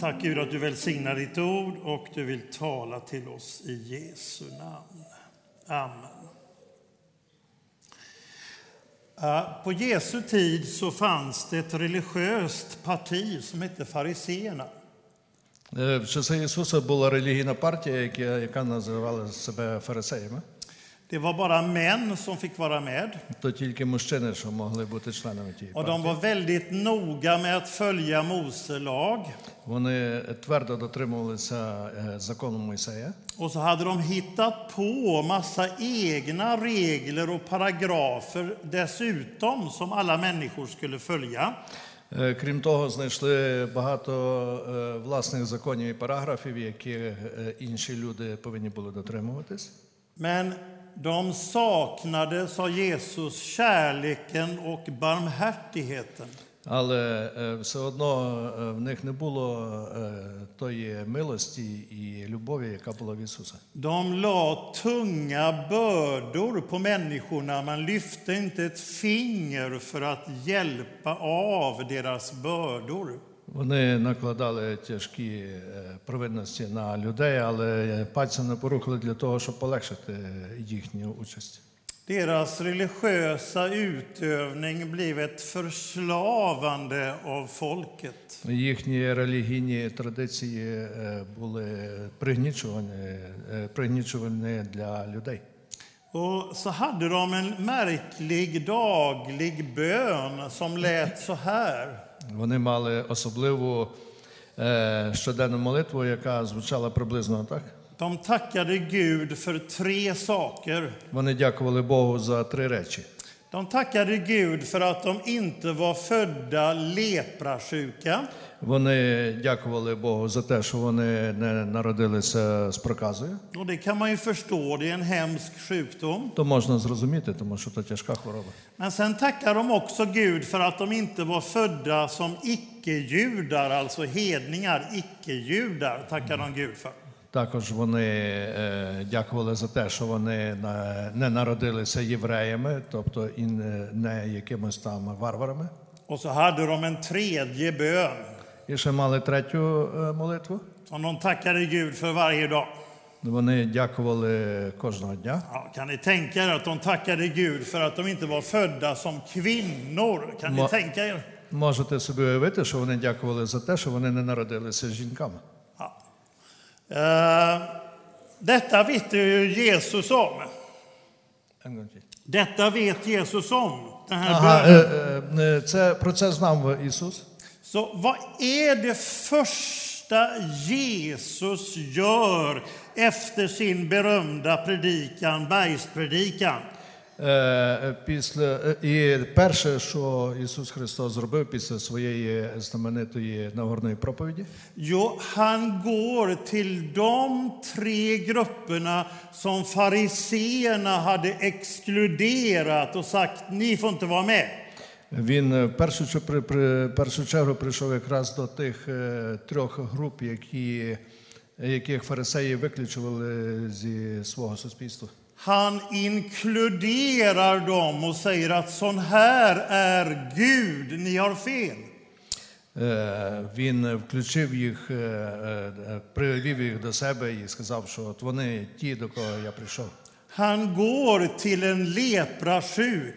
Tack Gud att du välsignar ditt ord och du vill tala till oss i Jesu namn. Amen. Eh, På Jesu tid så fanns det ett religiöst parti som hette fariseerna. Е, В часи Ісуса була релігійна партія, яка, яка називала себе фарисеями. Det var bara män som fick vara med То тільки мужчини, що могли бути членами тієї och de партії. var väldigt noga med att följa Mose lag. Вони твердо дотримувалися е, закону Мойсея. Och så hade de hittat på massa egna regler och paragrafer dessutom som alla människor skulle följa. Е, Крім того, знайшли багато е, власних законів і параграфів, які е, інші люди повинні були дотримуватись. Men de saknade, sa Jesus, kärleken och barmhärtigheten. Але е, все одно е, в них не було е, тої милості і любові, яка була в Ісуса. De la tunga bördor på människorna, man lyfte inte ett finger för att hjälpa av deras bördor. Вони накладали тяжкі е, провинності на людей, але пальцем не порухали для того, щоб полегшити їхню участь. Deras religiösa utövning blev ett förslavande av folket. Їхні релігійні традиції е, були пригнічувані, е, пригнічувані для людей. Och så hade de en märklig daglig bön som lät så här. Вони мали особливу е, щоденну молитву, яка звучала приблизно так. De tackade Gud för tre saker. Вони дякували Богу за три речі. De tackade Gud för att de inte var födda leprasjuka. Вони дякували Богу за те, що вони не народилися з проказою. Och det kan man ju förstå, det är en hemsk sjukdom. То можна зрозуміти, тому що то тяжка хвороба. Men sen tackar de också Gud för att de inte var födda som icke-judar, alltså hedningar, icke-judar, tackar de Gud för. Також вони е, дякували за те, що вони на- не народилися євреями, тобто і не, не якимось там варварами. Och så hade de en tredje bön І ще мали третю е, молитву. som de tackade Gud för varje dag. Вони дякували кожного дня. Ja, kan ni tänka er att de tackade Gud för att de inte var födda som kvinnor? Kan ni Ma- tänka er? Можете собі уявити, що вони дякували за те, що вони не народилися жінками. Ja. Eh, Detta vet ju Jesus om. Detta vet Jesus om, den här Ага, bönen. е, е, е, це про це знав Ісус. Så vad är det första Jesus gör efter sin berömda predikan, bergspredikan? Е, е, Після е, і перше, що Ісус Христос зробив після своєї знаменитої нагорної проповіді, Jo, han går till de tre grupperna som fariseerna hade exkluderat och sagt ni får inte vara med. він е, в першу, чу- при, при, першу чергу прийшов якраз до тих е, трьох груп, які, яких фарисеї виключували зі свого суспільства. Han inkluderar dem och säger att sån här är Gud, ni har fel. Е, Він включив їх, е, е, е, привів їх до себе і сказав, що от вони ті, до кого я прийшов. Han går till en leprasjuk.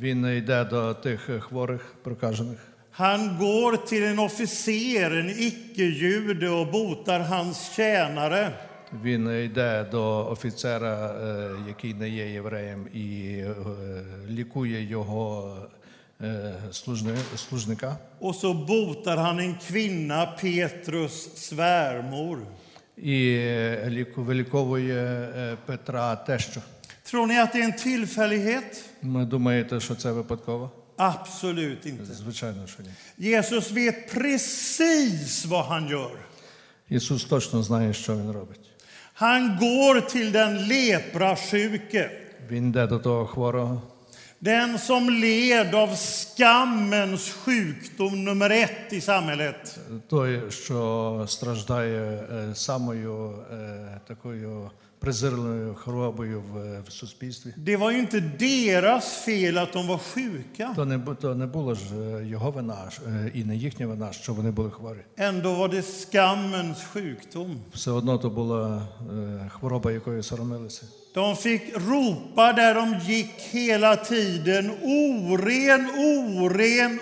Він йде до тих е, хворих, прокажених. Han går till en officer, en icke-jude, och botar hans tjänare. Він йде до офіцера, е, який не є євреєм, і е, лікує його е, служни- служника. Och så botar han en kvinna, Petrus svärmor. І е, ліку- виліковує е, Петра тещо. Tror ni att det är en tillfällighet? Ви думаєте, що це випадково? Absolut inte. Звичайно, що ні. Jesus vet precis vad han gör. Ісус точно знає, що він робить. Han går till den leprasjuke, Він йде до того хворого, den som led av skammens sjukdom nummer ett i samhället. той, що страждає е, самою е, такою презирливою хворобою в, в суспільстві. Det var ju inte deras fel att de var sjuka. То не, бу- то не було ж е, його вина ж, е, і не їхня вина, що вони були хворі. Ändå var det skammens sjukdom. Все одно то була е, хвороба, якою соромилися. De fick ropa där de gick hela tiden. Oren, oren,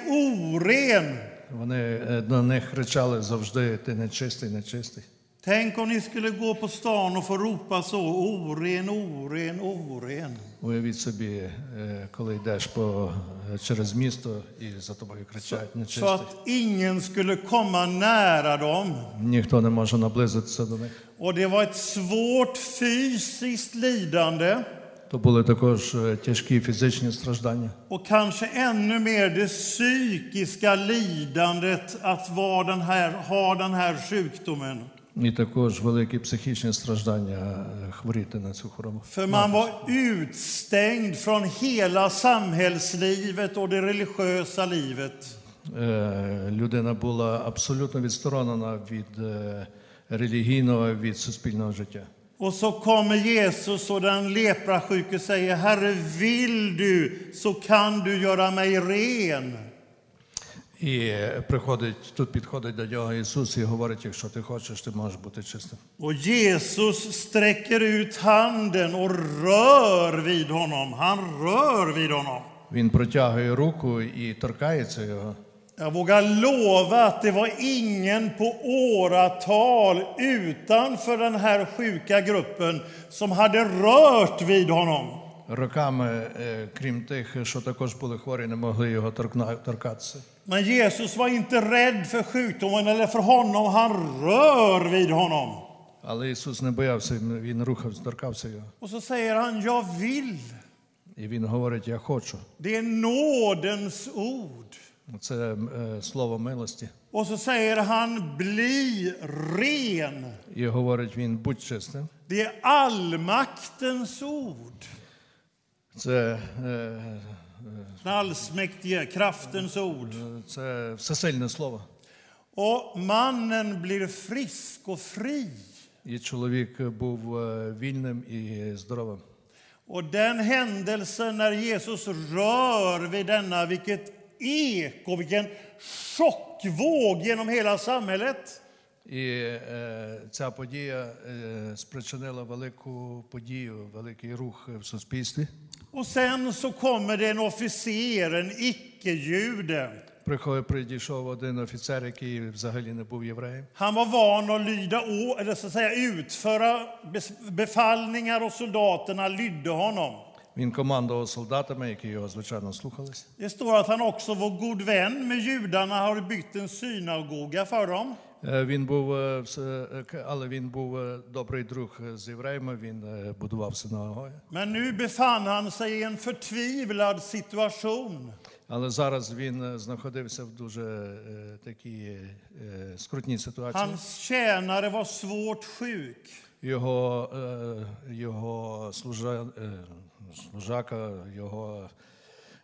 oren. Вони е, на них кричали завжди: ти нечистий, нечистий. Tänk om ni skulle gå på stan och få ropa så. Oren, oren, oren. Уявіть собі, е, коли йдеш по, е, через місто і за тобою кричать Så нечистий. att ingen skulle komma nära dem. Ніхто не може наблизитися до них. Och det var ett svårt fysiskt lidande. То були також е, тяжкі фізичні страждання. Och kanske ännu mer det psykiska lidandet att vara den här, ha den här sjukdomen. І також великі психічні страждання е, хворіти на цю хворобу. För man var utstängd från hela samhällslivet och det religiösa livet. Е, Людина була абсолютно відсторонена від е, релігійного, від суспільного життя. Och så kommer Jesus och den leprasjuke säger Herre, vill du så kan du göra mig ren. І приходить тут, підходить до нього Ісус і говорить: якщо ти хочеш, ти можеш бути чистим. Och Jesus sträcker ut handen och rör vid honom. Han rör vid honom. Він протягує руку і торкається його. Jag vågar lova att det var ingen på åratal utanför den här sjuka gruppen som hade rört vid honom. Роками, е, крім тих, що також були хворі, не могли його торкна- торкатися. Men Jesus var inte rädd för sjukdomen eller för honom. Han rör vid honom. Але Ісус не боявся, він він рухався, торкався його. Och så säger han, jag vill. І він говорить: Я хочу. Det är nådens ord. Це е, слово милості. Och så säger han, bli ren. І говорить він, будь чистим. Det är allmaktens ord. Це, е, Den allsmäktige kraftens ord. це всесильне слово. Och mannen blir frisk och fri. І чоловік був е, вільним і здоровим. Och den händelsen när Jesus rör vid denna, vilket eko, vilken chockvåg genom hela samhället. І е, ця подія е, спричинила велику подію, великий рух в суспільстві. Och sen så kommer det en officer, en icke-jude. Прихо- Прийшов один офіцер, який взагалі не був євреєм. Han var van att lyda å, eller så att säga utföra bes- befallningar och soldaterna lydde honom. Він командував солдатами, які його звичайно слухалися. Det står att han också var god vän med judarna, har byggt en synagoga för dem. Е, Він був е, все- е, к- але він був е, добрий друг з євреями. Він е, будував синагоги. Men nu befann han sig i en förtvivlad situation. Але зараз він е, знаходився в дуже е, такій е, скрутній ситуації. Hans tjänare var svårt sjuk. Його, е, його служа, е, служака, його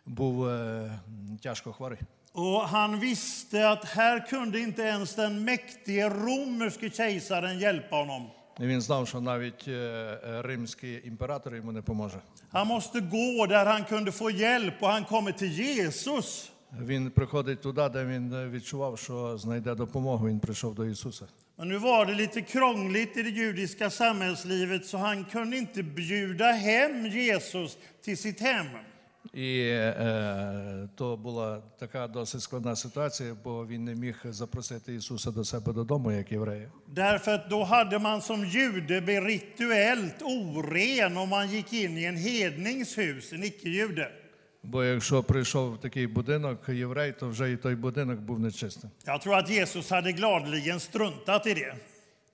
був е, тяжко хворий. Och han visste att här kunde inte ens den mäktige romerske kejsaren hjälpa honom. І він знав, що навіть е, е, римський імператор йому не поможе. Han måste gå där han kunde få hjälp och han kommer till Jesus. Він приходить туди, де він е, відчував, що знайде допомогу. Він прийшов до Ісуса. Men nu var det lite krångligt i det judiska samhällslivet så han kunde inte bjuda hem Jesus till sitt hem. І е, то була така досить складна ситуація, бо він не міг запросити Ісуса до себе додому, як євреї. Därför att då hade man som jude blivit rituellt oren om man gick in i en hednings hus, en icke-jude. Бо якщо прийшов в такий будинок єврей, то вже і той будинок був нечистим. Jag tror att Jesus hade gladeligen struntat i det.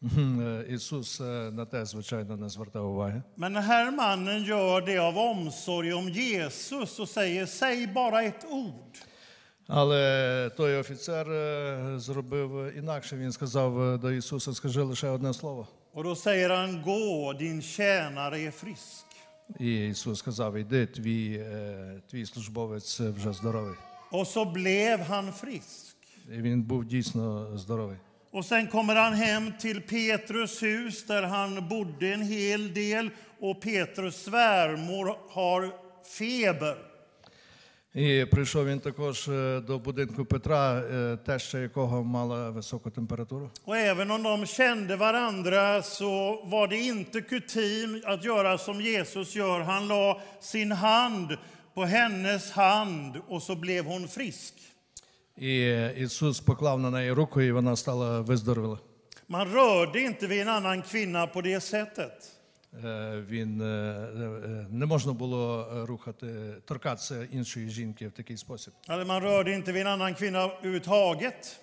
Мгм, е, Ісус е, на те, звичайно, не звертав уваги. Men den här mannen gör det av omsorg om Jesus och säger säg bara ett ord. Але той офіцер е, зробив інакше. Він сказав е, до Ісуса: скажи лише одне слово. Och då säger han gå, din tjänare är frisk. І Ісус сказав: Іди, твій, е, твій службовець вже здоровий. Och så blev han frisk. І він був дійсно здоровий. Och sen kommer han hem till Petrus hus där han bodde en hel del och Petrus svärmor har feber. І прийшов він також е, до будинку Петра, е, теща якого мала високу температуру. Och även om de kände varandra så var det inte kutym att göra som Jesus gör. Han la sin hand på hennes hand och så blev hon frisk. І Ісус поклав на неї руку, і вона стала виздоровіла. Man rörde inte vid en annan kvinna på det sättet. Е, Він е, е, не можна було е, рухати, торкатися іншої жінки в такий спосіб. Eller man rörde inte vid en annan kvinna överhuvudtaget.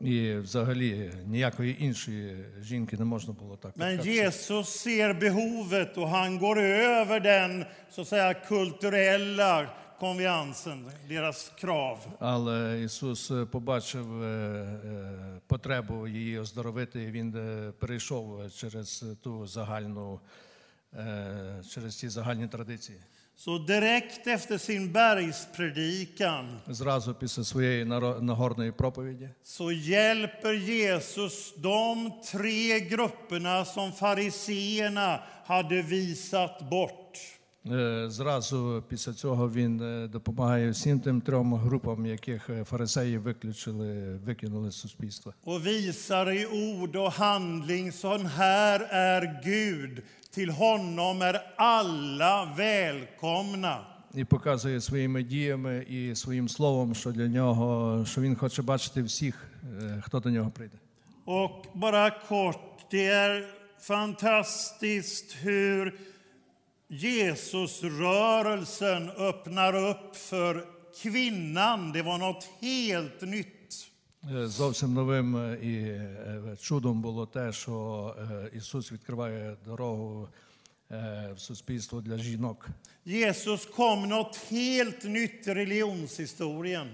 І взагалі ніякої іншої жінки не можна було так. Men торкатися. Jesus ser behovet och han går över den så att säga, kulturella konviansen, deras krav. Але Ісус е, побачив е, е, потребу її оздоровити, і він е, перейшов через ту загальну, е, через ті загальні традиції. Så direkt efter sin bergspredikan Зразу після своєї наро- нагорної проповіді så hjälper Jesus de tre grupperna som fariseerna hade visat bort. Е, Зразу після цього він е, допомагає всім тим трьом групам, яких е, фарисеї виключили, викинули з суспільства. Och visar i ord och handling, sån här är Gud. Till honom är alla välkomna. І показує своїми діями і своїм словом, що для нього, що він хоче бачити всіх, е, хто до нього прийде. Och bara kort, det är fantastiskt hur Jesusrörelsen öppnar upp för kvinnan. Det var något helt nytt. Е, Зовсім новим е, і е, чудом було те, що е, Ісус відкриває дорогу е, в суспільство для жінок. Jesus kom något helt nytt i religionshistorien.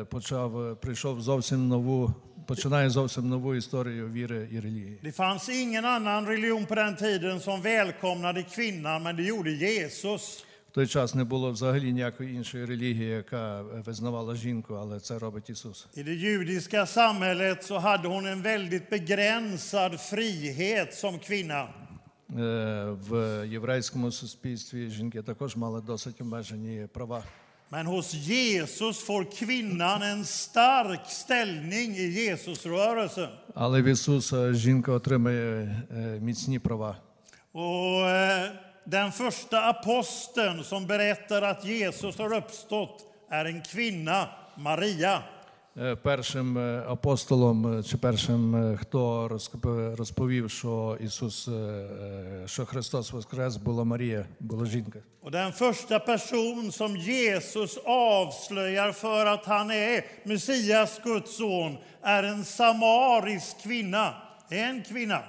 Е, Почав е, прийшов зовсім нову, починає зовсім нову історію віри і релігії. Det fanns ingen annan religion på den tiden som välkomnade kvinnan, men det gjorde Jesus. В той час не було взагалі ніякої іншої релігії, яка визнавала жінку, але це робить Ісус. I det judiska samhället så hade hon en väldigt begränsad frihet som kvinna. Е, В єврейському суспільстві жінки також мали досить обмежені права. Men hos Jesus får kvinnan en stark ställning i Jesusrörelsen. Але в Ісуса жінка отримає е, міцні права. Och eh, den första aposteln som berättar att Jesus har uppstått är en kvinna, Maria. Е, Першим е, апостолом е, чи першим, е, хто розкоп- розповів, що Ісус, е, е, що Христос воскрес, була Марія, була жінка. Och den första person som Jesus avslöjar för att han är Messias, Guds son, är en samarisk kvinna. En kvinna.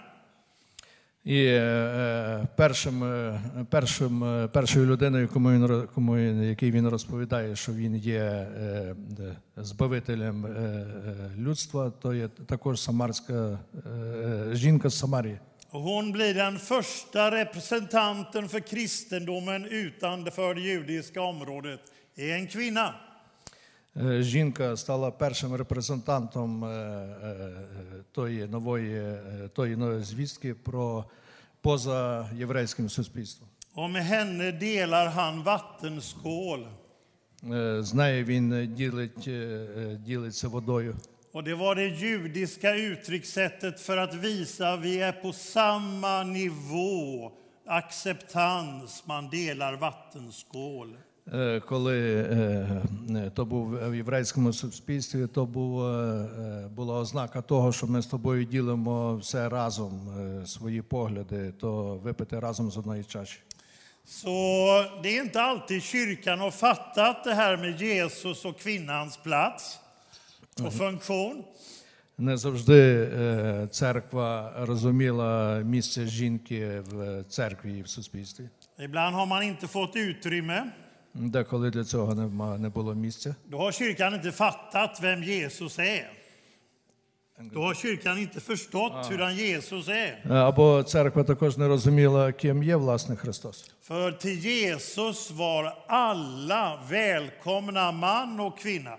І е, е, першим, е, першим, е, першою людиною, кому він, ро- кому він, який він розповідає, що він є е, де- збавителем е, е, людства, то є також самарська е, е, жінка з Самарії. Och hon blir den första representanten för kristendomen utanför det judiska området. Är en kvinna. Е, Жінка стала першим репрезентантом е, е, тої нової е, тої нової звістки про поза єврейським суспільством. Och med henne delar han vattenskål. Е, З нею він ділить, е, е, ділиться водою. Och det var det judiska uttryckssättet för att visa vi är på samma nivå. Acceptans, man delar vattenskål. Е, Коли е, е, то був в єврейському суспільстві, то був, е, е, була ознака того, що ми з тобою ділимо все разом, е, свої погляди, то випити разом з одної чаші. Så det är inte alltid kyrkan har fattat det här med Jesus och kvinnans plats och funktion. Не завжди е, церква розуміла місце жінки в церкві і в суспільстві. Ibland har man inte fått utrymme. Деколи для цього нема- не було місця. Då har kyrkan inte fattat vem Jesus är. Då har kyrkan inte förstått hur han Jesus är. Е, Або церква також не розуміла, ким є власне Христос. För till Jesus var alla välkomna, man och kvinna.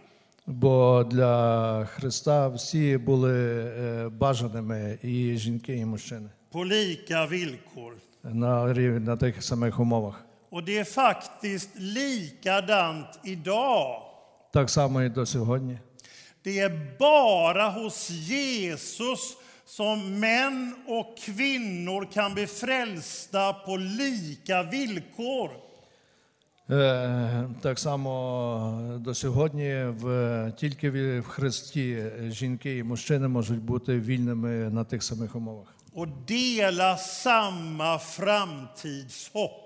Бо для Христа всі були е, бажаними і жінки, і мужчини på lika villkor. на рівень на тих самих умовах. Och det är faktiskt likadant idag. Так само і до сьогодні. Det är bara hos Jesus som män och kvinnor kan bli frälsta på lika villkor. Е, Так само до сьогодні в тільки в- в Христі жінки і мужчини можуть бути вільними на тих самих умовах och dela samma framtidshopp.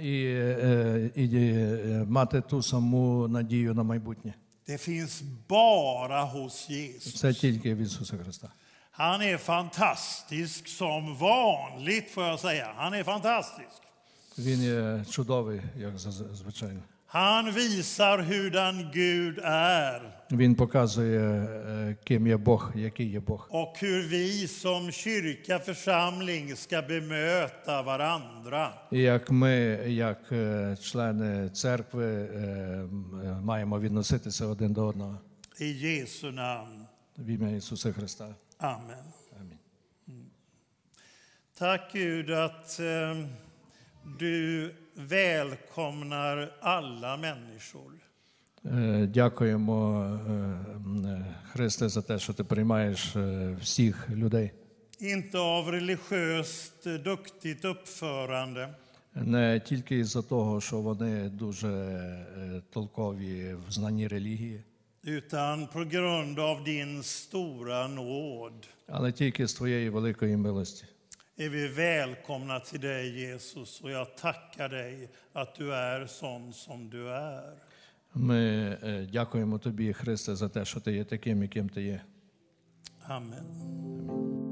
і, е, і е, мати ту саму надію на майбутнє. Det finns bara hos Jesus. Це тільки від Ісуса Христа. Han är fantastisk som vanligt, får jag säga. Han är fantastisk. Він є чудовий, як заз- звичайно. Han visar hurdan Gud är Він показує, е, ким є Бог, який є Бог, och hur vi som kyrka, församling, ska bemöta varandra. і як ми, як е, члени церкви, е, м, е, маємо відноситися один до одного I Jesu namn. в ім'я Ісуса Христа. Amen. Mm. Амінь. Tack Gud att eh, du välkomnar alla människor. Е, Дякуємо, е, м, е, Христе, за те, що ти приймаєш е, всіх людей. Inte av religiöst eh, duktigt uppförande, Не тільки із-за того, що вони дуже е, толкові в знанні релігії, utan på grund av din stora nåd але тільки з твоєї великої милості. är vi välkomna till dig Jesus och jag tackar dig att du är sån som du är. Ми е, дякуємо тобі, Христе, за те, що ти є таким, яким ти є. Amen.